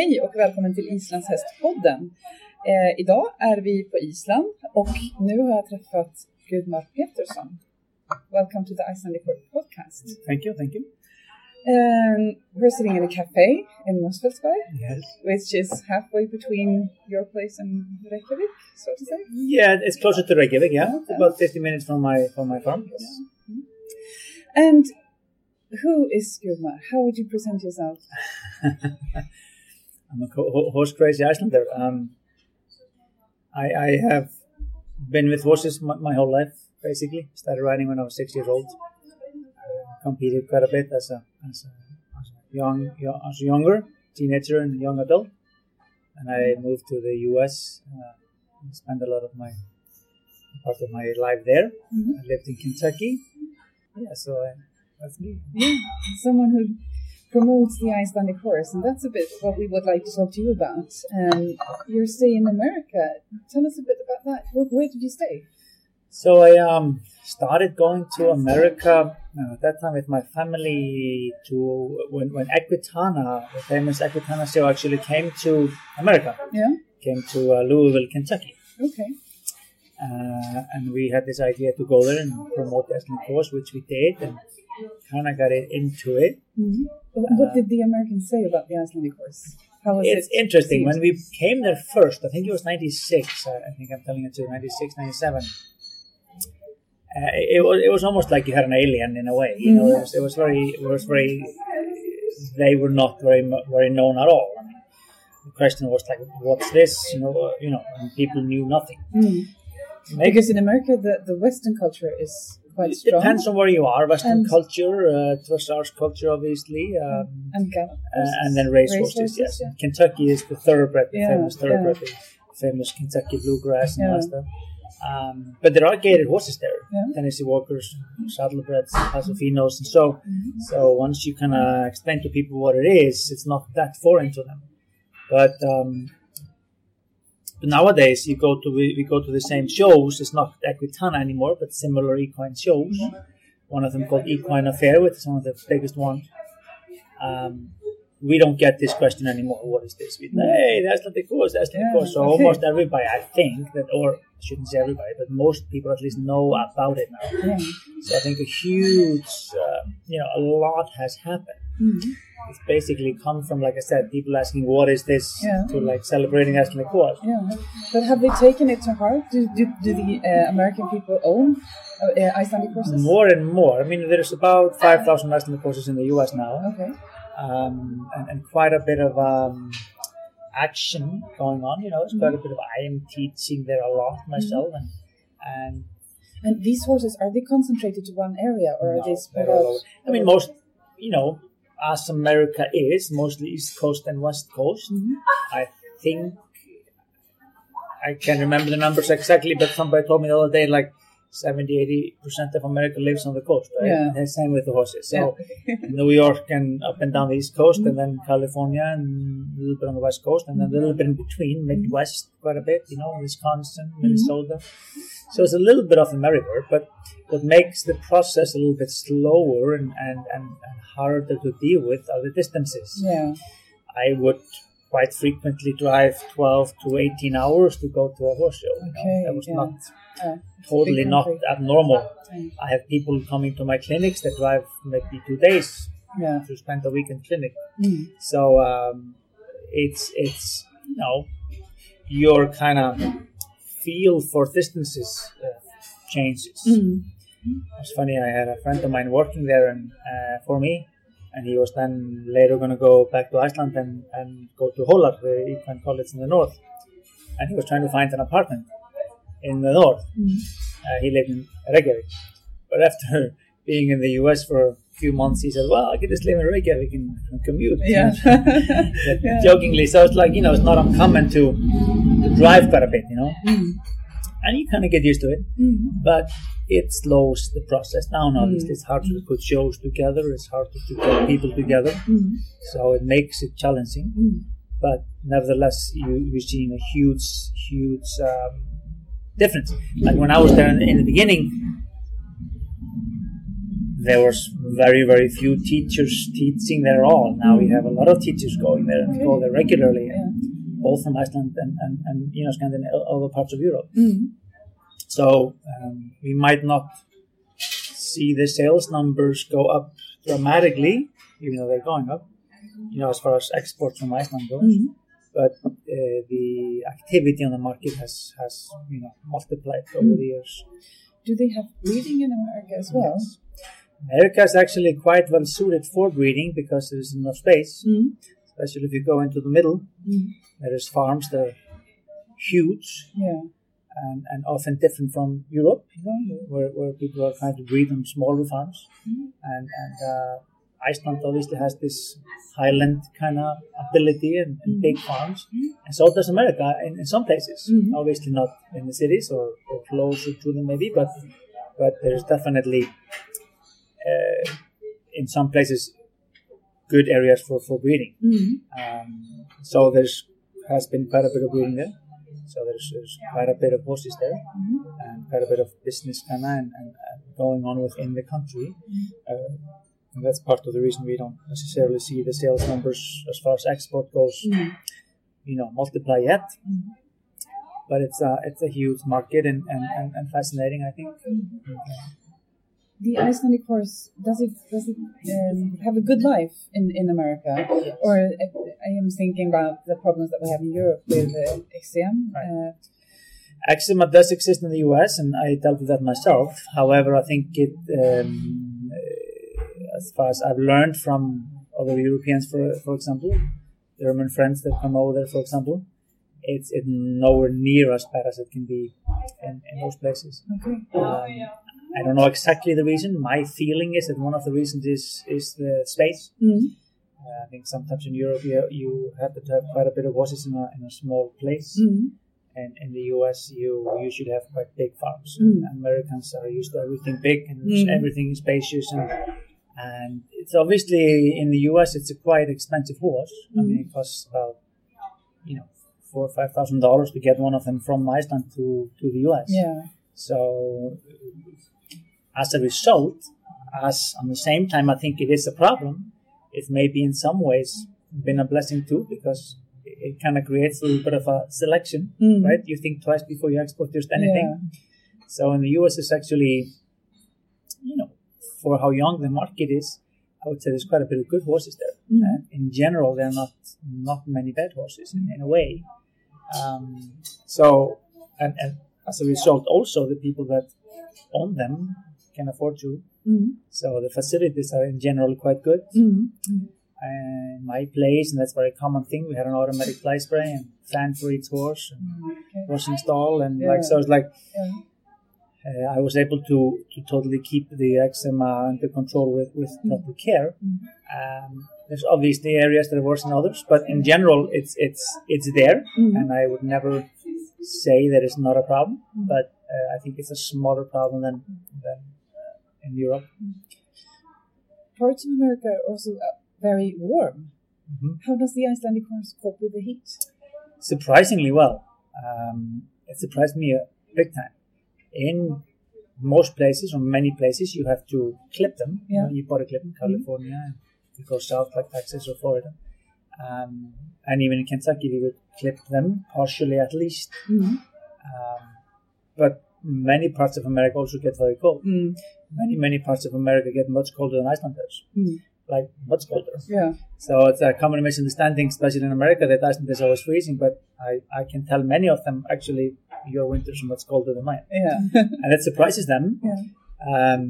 Hej och välkommen till Islands hästpodden. Eh, idag är vi på Island och nu har jag träffat Gudmar Petersson. Welcome to the Iceland Report podcast. Thank you, thank you. Um, we're sitting in a cafe in Mosfellsberg, Yes. which is halfway between your place and Reykjavik, so to say. Yeah, it's closer to Reykjavik. Yeah, It's about 50 minutes from my from my farm. Yes. And who is Gudmar? How would you present yourself? I'm a co- ho- horse crazy Icelander. Um, I I have been with horses my, my whole life. Basically, started riding when I was six years old. Uh, Competed quite a bit as a as a, as a young, young as a younger teenager and young adult. And I moved to the U.S. Uh, and spent a lot of my part of my life there. Mhm. I lived in Kentucky. Yeah, so I, that's me. someone who promotes the Icelandic horse, and that's a bit what we would like to talk to you about. Um, your stay in America. Tell us a bit about that. Where, where did you stay? So I um, started going to America uh, at that time with my family to when, when Equitana, the famous Equitana show, actually came to America, Yeah. came to uh, Louisville, Kentucky. Okay. Uh, and we had this idea to go there and promote the Icelandic course, which we did, and kind of got it into it. Mhm. What what did the Americans say about the Icelandic horse? How was It's it? interesting. When received? we came there first, I think it was 96, I, I think I'm telling it to 96, 97. Uh, it, was, it was almost like you had an alien in a way. You Mm-hmm. know, it was, it was very, it was very, they were not very, mu- very known at all. I mean, the question was like, what's this? You know, uh, you know, and people knew nothing. Mm. Maybe- Because in America, the, the Western culture is quite it strong. depends on where you are. Western And- culture, uh, dressage culture, obviously, um, and gallop and, horses. and then race, horses. Yes, yeah. Kentucky is the thoroughbred, the Yeah, famous thoroughbred, the famous Kentucky bluegrass and all that stuff. Um, but there are gated horses there, Yeah. Tennessee Walkers, saddlebreds, Pasofinos, and so. Mm-hmm. So once you kind of explain to people what it is, it's not that foreign to them. But um, but nowadays you go to we, we go to the same shows. It's not Equitana anymore, but similar equine shows. One of them called Equine Affair, which is one of the biggest ones. Um, we don't get this question anymore. What is this? We, hey, that's not the course. That's not Yeah, the course. So okay. almost everybody, I think that, or I shouldn't say everybody, but most people at least know about it now. Yeah. So I think a huge, uh, you know, a lot has happened. Mhm. It's basically come from, like I said, people asking, what is this? Yeah. To like celebrating Icelandic course. Yeah, but have they taken it to heart? Do, do, do the uh, American people own uh, uh, Icelandic horses? More and more. I mean, there's about 5,000 Icelandic courses in the US now, Okay. um, and, and quite a bit of um, action going on. You know, it's quite a bit of I am teaching there a lot myself, and, and And these horses are they concentrated to one area or are No, they spread they're all out? over. I mean, most, you know, as America is, mostly East Coast and West Coast. Mhm. I think I can't remember the numbers exactly, but somebody told me the other day like 70 80 percent of America lives on the coast, right? Yeah. And same with the horses. So Yeah. Mm-hmm. New York and up and down the East Coast, and then California, and a little bit on the West Coast, and then a little bit in between, Mm-hmm. Midwest quite a bit, you know, Wisconsin, Minnesota. So it's a little bit of a merry-go, but what makes the process a little bit slower and, and, and, and harder to deal with are the distances. yeah. I would quite frequently drive 12 to 18 hours to go to a horse show. you know. Okay, That was yeah. not Uh, totally big not country. abnormal. Mm. I have people coming to my clinics that drive maybe two days yeah. to spend a week in clinic. Mm. So um, it's it's you know your kind of feel for distances uh, changes. Mm. It's funny. I had a friend of mine working there and uh, for me, and he was then later going to go back to Iceland and, and go to Hólar, the equine college in the north. And he was trying to find an apartment in the north. Mm. Uh, he lived in Reykjavik, but after being in the U.S. for a few months, he said, "Well, I can just live in Reykjavik and, and commute." Yeah. Yeah. jokingly. So it's like you know, it's not uncommon to, to drive quite a bit, you know, Mm. and you kind of get used to it. Mm. But it slows the process down. Obviously, it's hard to put shows together. It's hard to get people together. Mm. So it makes it challenging. Mm. But nevertheless, you you're seeing a huge, huge um, difference. Like when I was there in, in the beginning, there was very very few teachers teaching there at all. Now we have a lot of teachers going there and go there regularly, Yeah. both from Iceland and, and, and you know Scandinavia, other parts of Europe. Mm. So um, we might not see the sales numbers go up dramatically, even though they're going up. You know, as far as exports from Iceland goes, Mm. but uh, the activity on the market has has you know multiplied Mm. over the years. Do they have breeding in America as well? Yes. America is actually quite well suited for breeding because there is enough space, Mm. especially if you go into the middle. Mm. There is farms that are huge Yeah. and, and often different from Europe, you know, where, where people are trying to breed on smaller farms. Mhm. And, and uh, Iceland obviously has this highland kind of ability and, and Mhm. big farms. And so does America in, in some places. Mhm. Obviously not in the cities or, or closer to them maybe, but, but there's definitely uh, in some places good areas for, for breeding. Mm. Um, so there's has been quite a bit of breeding there. So there's, there's quite a bit of horses there, Mhm. and quite a bit of business kind of and, and, and going on within the country. Uh, and that's part of the reason we don't necessarily see the sales numbers as far as export goes, Mm. you know, multiply yet. Mhm. But it's a it's a huge market and, and, and, and fascinating, I think. The Icelandic horse does it does it um, have a good life in in America? Or uh, I am thinking about the problems that we have in Europe with uh, XCM. Uh, eczema does exist in the US, and I dealt with that myself. However, I think it, um, uh, as far as I've learned from other Europeans, for for example, German friends that come over there, for example, it's it nowhere near as bad as it can be in, in those places. okay. Um, I don't know exactly the reason. My feeling is that one of the reasons is is the space. Mm. Uh, I think sometimes in Europe you, you have to have quite a bit of horses in a, in a small place Mm. and in the US you usually have quite big farms. Mm. Americans are used to everything big and Mm. everything is spacious and and it's obviously in the US it's a quite expensive horse. I mean it costs about you know four or five thousand dollars to get one of them from Iceland to, to the US. Yeah. So as a result, as on the same time I think it is a problem, it may be in some ways been a blessing too because it kind of creates a little bit of a selection Mm. right? You think twice before you export just anything. So in the US, it's actually, you know, for how young the market is, I would say there's quite a bit of good horses there. Yeah. Mm. And in general, there are not not many bad horses in, in a way. Um, so, and, and as a result, also the people that own them can afford to. Mm. So the facilities are in general quite good. Mm. And my place, and that's a very common thing. We had an automatic fly spray and fan for each horse. And Okay. washing stall and Yeah. like so it's like Yeah. uh, I was able to to totally keep the eczema under control with with proper care. Mm. Um, there's obviously areas that are worse than others, but in general it's it's it's there, Mm. and I would never say that it's not a problem. Mm-hmm. But uh, I think it's a smaller problem than than uh, in Europe. Parts of America are also uh, very warm. hmm How does the Icelandic horse cope with the heat? surprisingly well. Um, it surprised me uh, big time. In most places, or many places, you have to clip them. You know, Yeah. Mm-hmm. You, bought a clip in California, and you go south like Texas or Florida. Um, and even in Kentucky, we would clip them, partially at least. Mm. Um, but many parts of America also get very cold. Mm. Many, many parts of America get much colder than Iceland does. Mm. Like, much colder. Yeah. So it's a common misunderstanding, especially in America, that Iceland is always freezing, but I, I can tell many of them actually your winters are much colder than mine. Yeah. And that surprises them. Yeah. Um,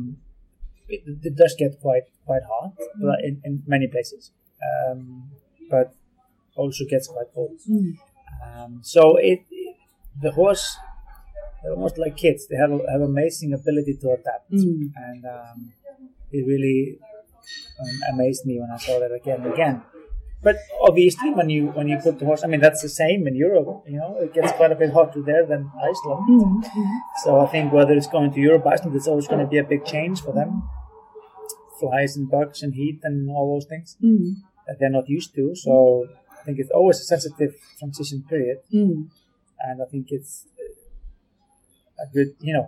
it, it does get quite quite hot but in, in many places, um, but also gets quite cold. Mm. Um, so it, it- the horse, they're almost like kids. They have a, have amazing ability to adapt, Mm. and um, it really um, amazed me when I saw that again and again. But obviously, when you when you put the horse, I mean that's the same in Europe. You know, it gets quite a bit hotter there than Iceland. Mm. Mm. So I think whether it's going to Europe, Iceland, it's always going to be a big change for them. Flies and bugs and heat and all those things Mm. that they're not used to. So I think it's always a sensitive transition period Mm. and I think it's a good, you know,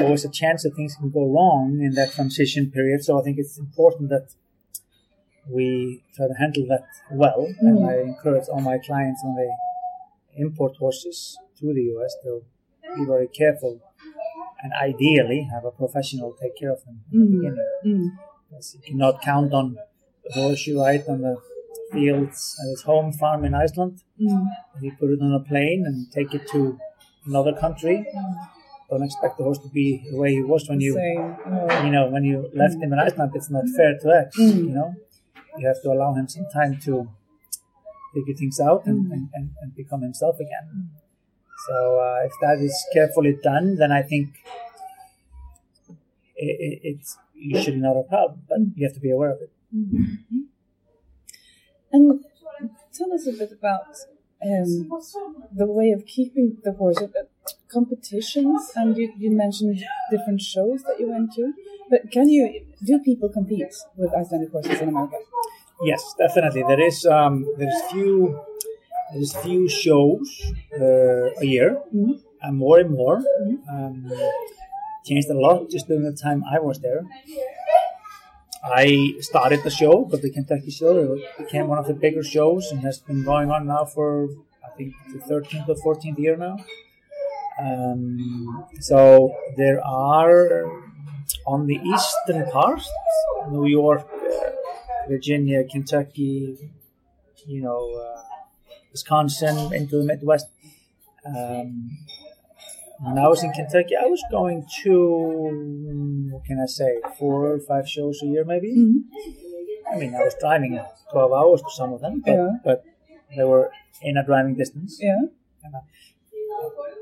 always a chance that things can go wrong in that transition period. So I think it's important that we try to handle that well. And I encourage all my clients when they import horses to the US to be very careful and ideally have a professional take care of them in the Mm. beginning. Mm. Yes, you cannot count on the horse you ride on the fields at his home farm in Iceland. Mm. You put it on a plane and take it to another country. Don't expect the horse to be the way he was when you, Same. Oh. you know, when you left him in Iceland. It's not fair to X. Mm. You know, you have to allow him some time to figure things out and, Mm. and, and, and become himself again. So uh, if that is carefully done, then I think it, it, it's usually not a problem. But you have to be aware of it. And tell us a bit about um, the way of keeping the horse, uh, competitions, and you, you mentioned different shows that you went to. But can you do people compete with Icelandic horses in America? Yes, definitely. There is um, there's few there's few shows uh, a year, Mhm. and more and more um, changed a lot just during the time I was there. I started the show, but the Kentucky show it became one of the bigger shows and has been going on now for I think the 13th or 14th year now. Um, so there are on the eastern part, New York, uh, Virginia, Kentucky, you know, uh, Wisconsin, into the Midwest. Um, when I was in Kentucky, I was going to, mm, what can I say, four or five shows a year, maybe. Mm. I mean, I was driving 12 hours to some of them, but, Yeah. but they were in a driving distance Yeah.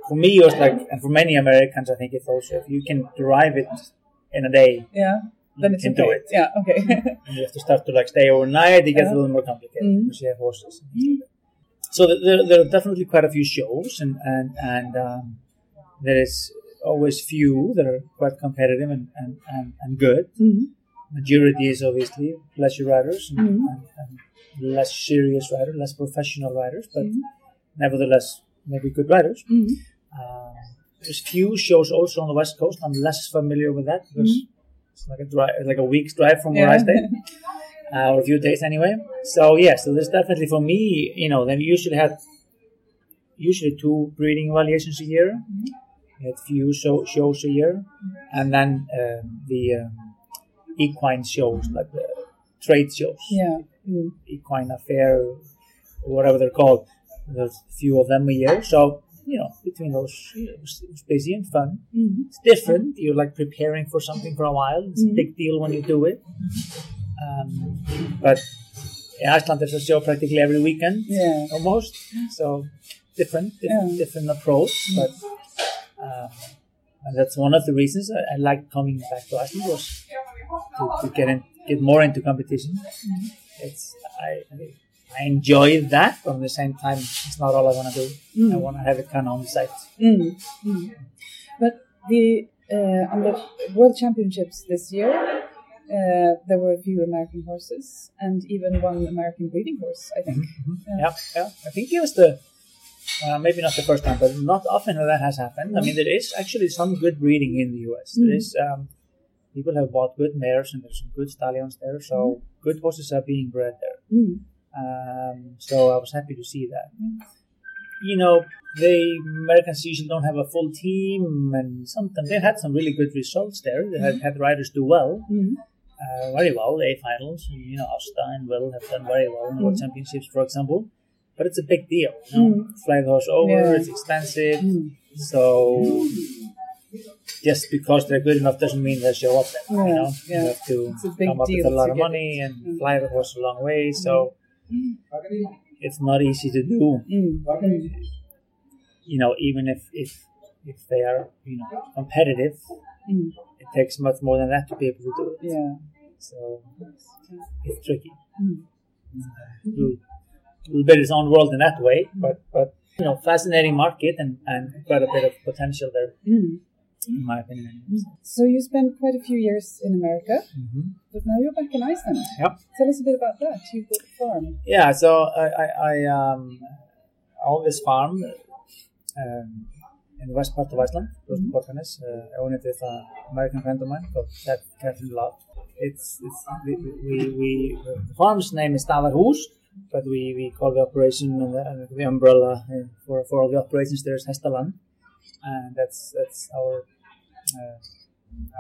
for me it was like and for many americans i think it's also if you can derive it in a day Yeah. Then you it's can okay. do it Yeah. Okay. and you have to start to like stay overnight it gets a Yeah. little more complicated Mhm. because you have horses so th- there, there are definitely quite a few shows and and, and um, there is always few that are quite competitive and, and, and, and good Mhm. majority is obviously pleasure riders and, Mhm. and, and less serious riders less professional riders but Mhm. nevertheless maybe good riders Mhm. um, there's few shows also on the west coast. I'm less familiar with that because it's like a drive, like a week's drive from where I Yeah. stay, uh, or a few days anyway. So yeah, so there's definitely for me, you know, then we usually had usually two breeding evaluations a year, we had few show, shows a year, and then um, the um, equine shows like the trade shows, Yeah. Mm. equine affair, or whatever they're called. There's a few of them a year, so you know, between those, it was, it was busy and fun. Mhm. It's different. You're like preparing for something for a while. It's a Mhm. big deal when you do it. Um, but in Iceland, there's a show practically every weekend, Yeah. uh, almost. So different, different, Yeah. Mm. different approach. But um, and that's one of the reasons I, I like coming back to Iceland was to, to get in, get more into competition. Mm-hmm. It's I. I I enjoy that, but at the same time, it's not all I want to do. I Mm. want to have it kind of on the side. Mm. Mm. But the uh, on the World Championships this year, uh, there were a few American horses and even one American breeding horse, I think. Yeah, yeah. I think it was the uh, maybe not the first time, but not often that, that has happened. I mean, there is actually some good breeding in the U.S. There Mhm. is um, people have bought good mares and there's some good stallions there, so good horses are being bred there. Mm. Um, so I was happy to see that. You know, the Americans usually don't have a full team, and sometimes they had some really good results there. They had, had riders do well, Mm. uh, very well, A finals. You know, Asta and Will have done very well in the World Mhm. Championships, for example. But it's a big deal. You know? Fly the horse over, Mm. Yeah. it's expensive. Mm. So just because they're good enough doesn't mean they show up there. You Yeah, know, yeah. you have to It's a big come up with deal a lot to of get money and Mm. fly the horse a long way. So it's not easy to do. Mm. Mm. You know, even if if if they are you know competitive, Mm. it takes much more than that to be able to do it. Yeah. So it's tricky. Mm. little, little bit of his own world in that way, but but you know, fascinating market and, and quite a bit of potential there, Mm. in my opinion. So you spent quite a few years in America, Mm-hmm. but now you're back in Iceland. Yep. Tell us a bit about that. You bought a farm. Yeah, so I I, I um, own this farm um, in the west part of Iceland, close to Borgarnes. Uh, I own it with an American friend of mine called Kat- Catherine Love. It's, it's we, we, we the farm's name is Stavarhús, but we, we call the operation and the, and the umbrella uh, for for all the operations there is Hestaland, and that's that's our uh,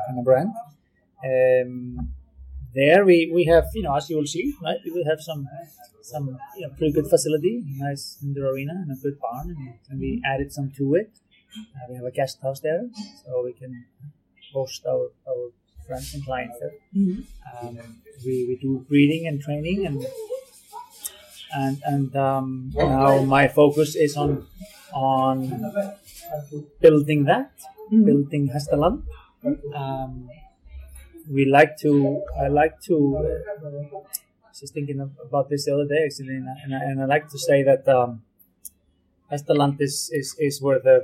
kind of brand. Um, there we, we have you know as you will see right we will have some some you know, pretty good facility nice indoor arena and a good barn and, and we added some to it uh, we have a guest house there so we can host our, our friends and clients there um, we, we do breeding and training and and and um, now my focus is on on building that Mm-hmm. Mm, building Hestaland um, we like to I like to uh, I was just thinking ab- about this the other day actually and I, and I, and I like to say that um, Estaland is, is, is where the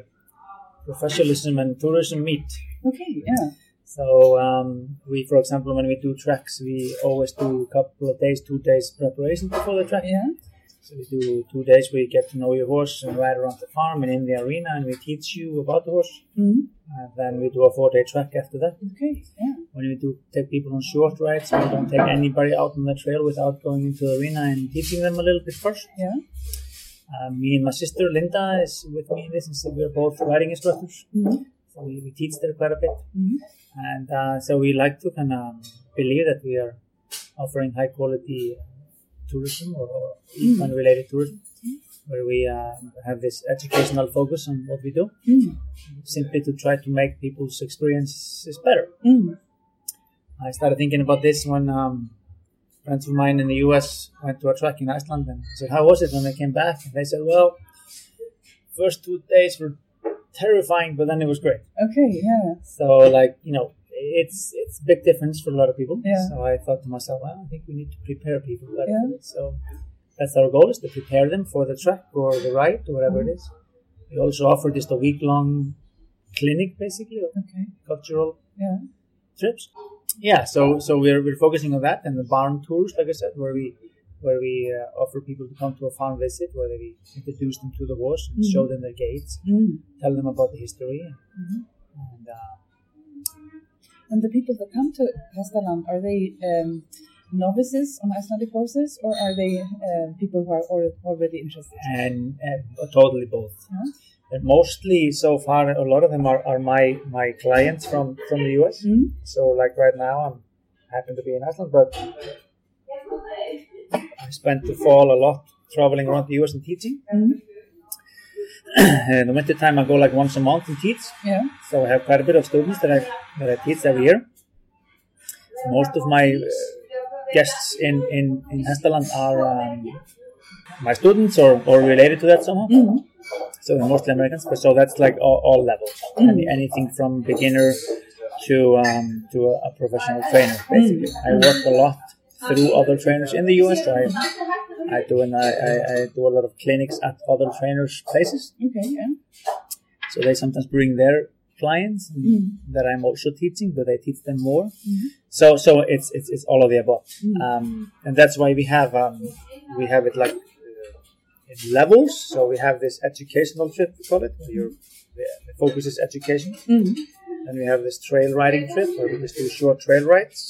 professionalism and tourism meet Okay, yeah. so um, we for example when we do treks we always do a couple of days two days preparation before the trek Yeah. so we do two days where you get to know your horse and ride around the farm and in the arena and we teach you about the horse Mhm. and then we do a four day trek after that Okay, yeah. when we do take people on short rides, we don't take anybody out on the trail without going into the arena and teaching them a little bit first. Yeah. Uh, me and my sister Linda is with me in this, and so we're both riding instructors. Mhm. So we, we teach them quite a bit. Mhm. And uh, so we like to kind of believe that we are offering high quality tourism or, or even related tourism, where we uh, have this educational focus on what we do, Mm. simply to try to make people's experiences better. Mm. I started thinking about this when um, friends of mine in the U.S. went to a trek in Iceland and I said, "How was it?" When they came back, and they said, "Well, first two days were terrifying, but then it was great." Okay, yeah. So, like you know, it's it's a big difference for a lot of people. Yeah. So I thought to myself, "Well, I think we need to prepare people better." Yeah. for this." So that's our goal: is to prepare them for the trek or the ride or whatever it Mm-hmm. is. We also offer just a week-long clinic, basically, or Okay, cultural yeah. trips. Yeah, so so we're, we're focusing on that and the barn tours, like I said, where we where we uh, offer people to come to a farm visit, where we introduce them to the horse and Mhm. show them their gates, Mm. tell them about the history, and, Mhm. and uh, And the people that come to Hestaland, are they um, novices on Icelandic horses or are they uh, people who are al- already interested? and, and totally both. Yeah. And mostly so far, a lot of them are, are my my clients from from the US. Mm. So like right now, I'm happen to be in Iceland, but I spent the fall a lot traveling around the US and teaching. Mm. in the winter time, I go like once a month and teach. Yeah. So I have quite a bit of students that I that I teach every year. Most of my uh, guests in in in Hestaland are um, my students or, or related to that somehow. Mm. So they're mostly Americans, but so that's like all, all levels, Mm. Any, anything from beginner to um, to a, a professional trainer. Mm. Basically, I work a lot through other trainers in the US. So I, I do and I, I, I do a lot of clinics at other trainers' places. Okay, yeah. So they sometimes bring their clients and Mm. that I'm also teaching, but I teach them more. Mhm. So so it's, it's it's all of the above, Mm. um, and that's why we have um, we have it like uh, in levels. So we have this educational trip we call it. Where your the the focus is education, Mm. and we have this trail riding trip where we just do short trail rides,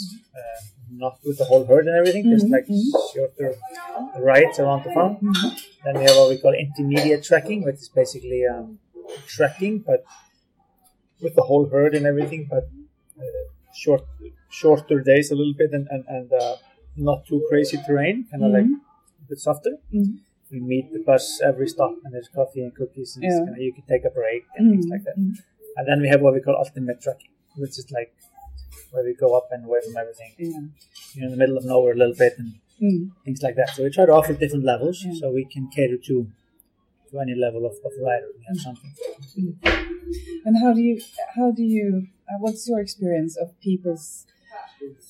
uh, not with the whole herd and everything, just Mhm, like shorter rides around the farm. Then we have what we call intermediate trekking, which is basically um, trekking, but with the whole herd and everything, but uh, short, shorter days a little bit, and and, and uh, not too crazy terrain, kind of like a bit softer. Mhm. We meet the bus every stop, and there's coffee and cookies, and it's Yeah. kinda- you can take a break and things Mm. like that. Mm. And then we have what we call ultimate trekking, which is like where we go up and away from everything, Yeah. you know, in the middle of nowhere a little bit, and Mm. things like that. So we try to offer different levels Yeah. so we can cater to to any level of, of rider. We have something. And how do you, how do you, uh, what's your experience of people's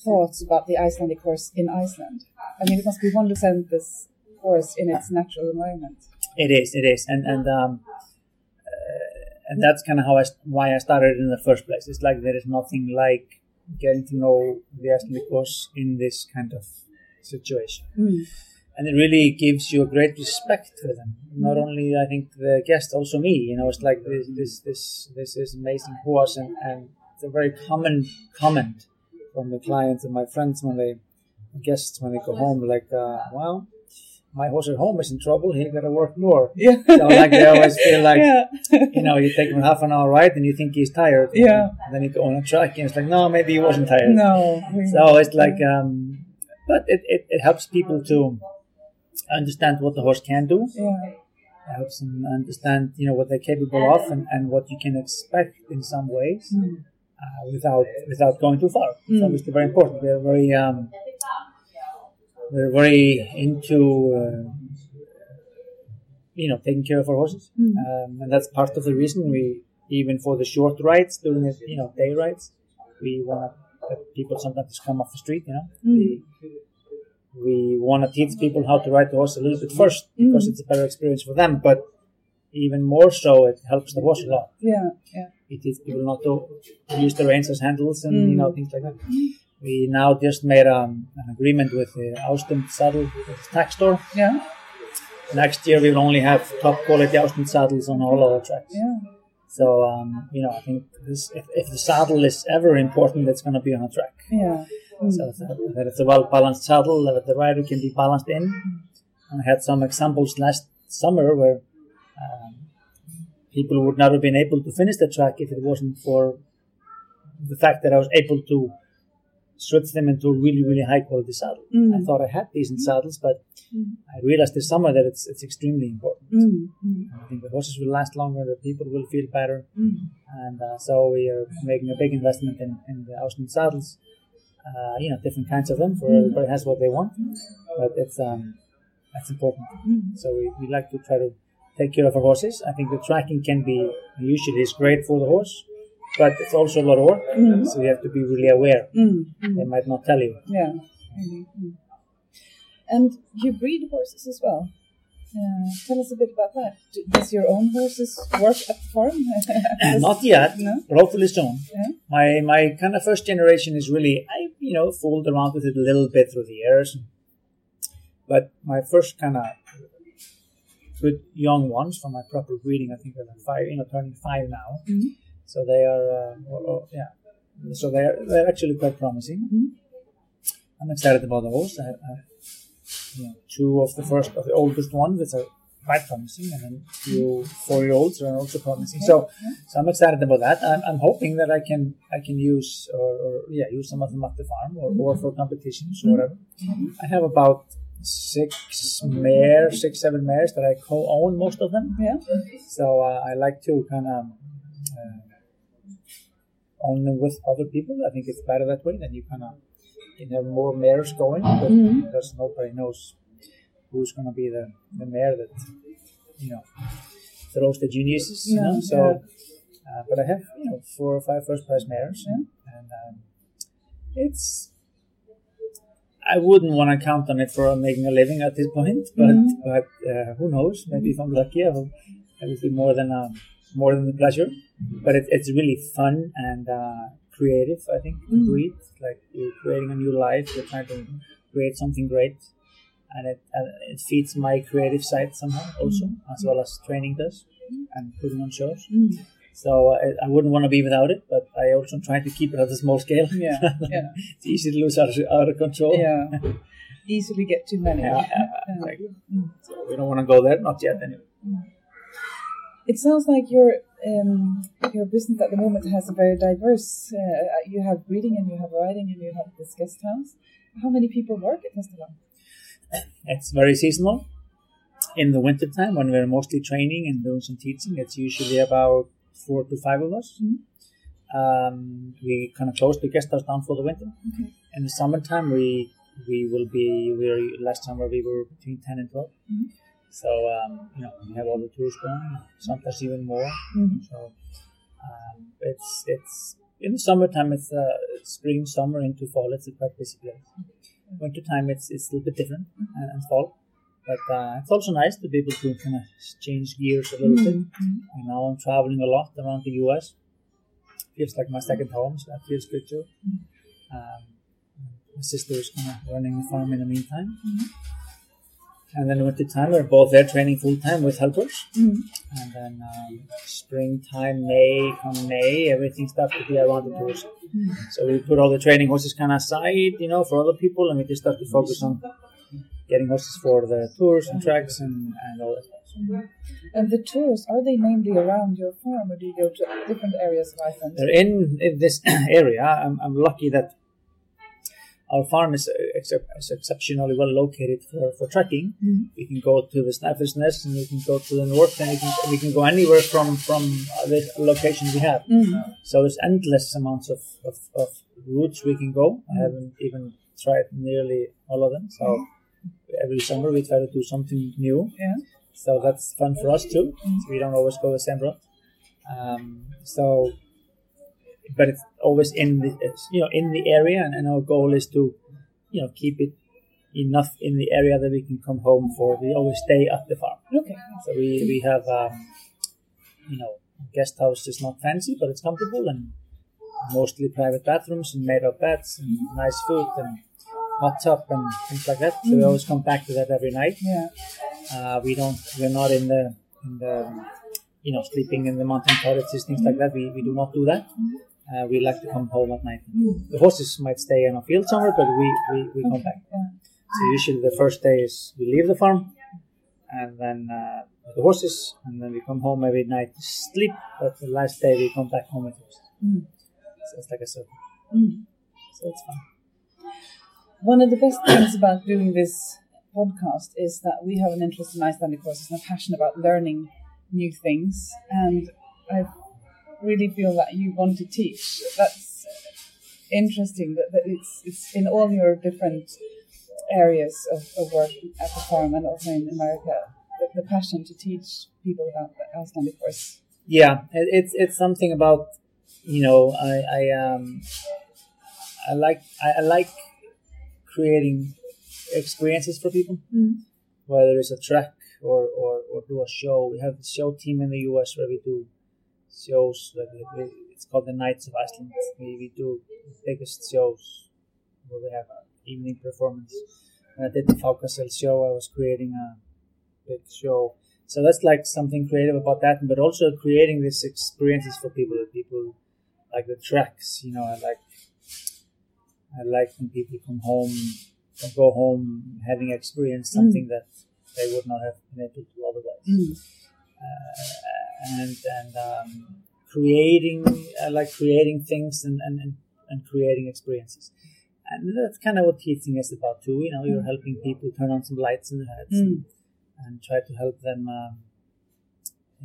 thoughts about the Icelandic horse in Iceland? I mean, it must be wonderful to send this horse in its natural environment. It is, it is, and and um, uh, and that's kind of how I st- why I started in the first place. It's like there is nothing like getting to know the Icelandic horse in this kind of situation. Mm. and it really gives you a great respect for them. Not only I think the guest, also me. You know, it's like this, this, this, this is amazing horse, and and it's a very common comment from the clients and my friends when they guests when they go home, like, uh, well, my horse at home is in trouble. He got to work more. Yeah. So like they always feel like yeah. you know you take him half an hour ride and you think he's tired. Yeah. And then you go on a track and it's like no, maybe he wasn't tired. No. So it's like, um, but it, it, it helps people to understand what the horse can do. Yeah. It helps them understand, you know, what they're capable of and, and what you can expect in some ways Mm. uh, without without going too far. It's Mm. obviously very important. They're very um, they're very into uh, you know taking care of our horses, Mm. um, and that's part of the reason we even for the short rides during the you know day rides we want to people sometimes just come off the street, you know. Mm. We want to teach people how to ride the horse a little bit first Mm. because it's a better experience for them, but even more so, it helps the horse a lot Yeah. Yeah. it is people not to use the reins as handles and you know Mm. things like that. We now just made um, an agreement with the Austin saddle tax store. Yeah. Next year we will only have top quality Austin saddles on all our tracks. Yeah. So um, you know I think this, if, if the saddle is ever important, it's going to be on a track. Yeah. Mm. So that, that it's a well balanced saddle that the rider can be balanced in. Mm. I had some examples last summer where um, people would not have been able to finish the track if it wasn't for the fact that I was able to switch them into a really, really high quality saddle. Mm. I thought I had decent saddles, but Mm. I realized this summer that it's, it's extremely important. Mm. Mm. I think the horses will last longer, the people will feel better, Mm. and uh, so we are making a big investment in, in the Austin saddles. Uh, you know, different kinds of them for everybody has what they want, but it's um, that's important. Mm. So we, we like to try to take care of our horses. I think the tracking can be usually is great for the horse, but it's also a lot of work. Mhm. So you have to be really aware. Mm. Mm. They might not tell you. Yeah. really, mm. And you breed horses as well. Uh, tell us a bit about that. Do, does your own horses work at the farm? not yet, No? but hopefully soon. Yeah. My my kind of first generation is really I you know fooled around with it a little bit through the years, but my first kind of good young ones from my proper breeding I think they're like five you know turning five now, Mhm. so they are uh, or- or- yeah, so they're they're actually quite promising. Mhm. I'm excited about those. I, I, you know, two of the first of the oldest ones which are quite promising, and then two four year olds are also promising. So. So I'm excited about that. I'm, I'm hoping that I can I can use or, or yeah use some of them at the farm or, or for competitions or whatever. I have about six mares, six seven mares that I co-own most of them. Yeah. So uh, I like to kind of uh, own them with other people. I think it's better that way. Then you kind of can have more mares going but- Mhm. because nobody knows who's going to be the, the mare that you know throws the geniuses. You Yeah, know, so. Uh, but I have you know four or five first prize mares, and um, it's. I wouldn't want to count on it for making a living at this point, but Mhm. but uh, who knows? Maybe if I'm lucky, I will I will be more than um, more than the pleasure. But it, it's really fun and uh, creative. I think to Mhm. breed like you're creating a new life. You're trying to create something great, and it and it feeds my creative side somehow also, as well as training does and putting on shows. Mm. So uh, I, I wouldn't want to be without it, but I also try to keep it at a small scale. Yeah. Yeah. It's easy to lose out of, out of control. Yeah. Easily get too many. Yeah, yeah, Yeah. Exactly. So we don't want to go there, not yet anyway. It sounds like your um, your business at the moment has a very diverse. Uh, you have breeding and you have riding and you have this guest house. How many people work at Hestaland? It's very seasonal. In the wintertime, when we're mostly training and doing some teaching, it's usually about four to five of us. Mhm. Um, we kind of close the guest house down for the winter. Okay. In the summertime, we we will be we were, last summer we were between ten and 12 Mhm. So um, you know we have all the tours going, sometimes even more. Mm. So um, it's it's in the summertime it's uh, spring summer into fall it's a quite busy place. Winter time it's it's a little bit different uh, and, and fall, but uh, it's also nice to be able to kind of change gears a little bit. And now I'm traveling a lot around the U.S. Feels like my second home, so that feels good too. Um, my sister is kind of running the farm in the meantime. And then winter time, we're both there training full time with helpers. Mm. And then um, springtime, May, come May, everything starts to be around the tours. So we put all the training horses kind of aside, you know, for other people, and we just start to focus on getting horses for the tours and tracks and, and all that. And the tours, are they mainly around your farm or do you go to different areas of Iceland? They're in, in this area. I'm, I'm lucky that our farm is, uh, excep is exceptionally well located for, for trekking. Mhm. We can go to the Sniper's Nest and we can go to the north and we can, we can go anywhere from, from uh, the location we have. Mm. So there's endless amounts of, of, of routes we can go. I haven't even tried nearly all of them. So every summer we try to do something new. Yeah. So that's fun for us too. We don't always go the same route. Um, so, but it's always in the it's, you know in the area, and, and our goal is to you know keep it enough in the area that we can come home for. We always stay at the farm. Okay. So we, we have, um, you know, guest house is not fancy, but it's comfortable and mostly private bathrooms and made up beds and nice food and hot tub and things like that. So we always come back to that every night. Yeah. Uh, we don't, we're not in the, in the, you know, sleeping in the mountain cottages, things like that. We, we do not do that. Uh, we like to come home at night. The horses might stay in a field somewhere, but we, we, we come back. Yeah. So usually the first day is we leave the farm, and then uh, with the horses, and then we come home every night to sleep. But the last day we come back home with horses. Mm. So it's like a circle. Mm. So it's fun. One of the best things about doing this podcast is that we have an interest in Icelandic horses and a passion about learning new things. And I really feel that you want to teach. That's interesting that, that it's, it's in all your different areas of, of work at the farm and also in America, the, the passion to teach people about the Icelandic horse. Yeah, it, it's it's something about you know I I um I like I, I like creating experiences for people. whether it's a track or, or, or do a show. We have the show team in the US where we do shows. Like we- we- it's called the Knights of Iceland. We, we do the biggest shows where we have an evening performance. When I did the Falcasel show, I was creating a big show. So that's like something creative about that, but also creating these experiences for people. That people like the tracks, you know. I like I like when people come home or go home having experienced something that they would not have been able to otherwise. Mm. And and um, creating, I like creating things and and, and, and creating experiences. And that's kind of what teaching is about too. You know, you're helping people turn on some lights in their heads Mm. and try to help them um,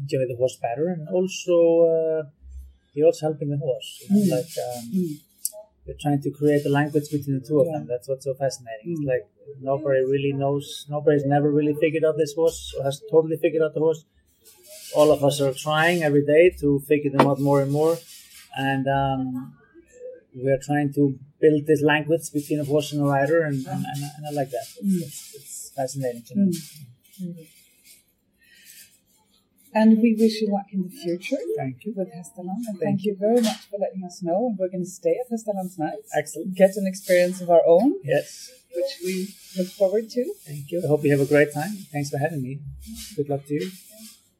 enjoy the horse better. And also, uh, you're also helping the horse. You know, Mm. Like um, Mm. they're trying to create a language between the two of them. Yeah. Mm. That's what's so fascinating. It's like nobody really knows. Nobody's never really figured out this horse or has totally figured out the horse. All of us are trying every day to figure them out more and more, and um, we're trying to build this language between a horse and a rider, and, and, and, and I like that. Mm. It's, it's, it's fascinating to me. And we wish you luck in the future Thank you. with Hestaland. And thank, Thank you very much for letting us know. And we're going to stay at Hestaland tonight, Excellent. get an experience of our own, Yes. which we look forward to. Thank you. I hope you have a great time. Thanks for having me. Good luck to you.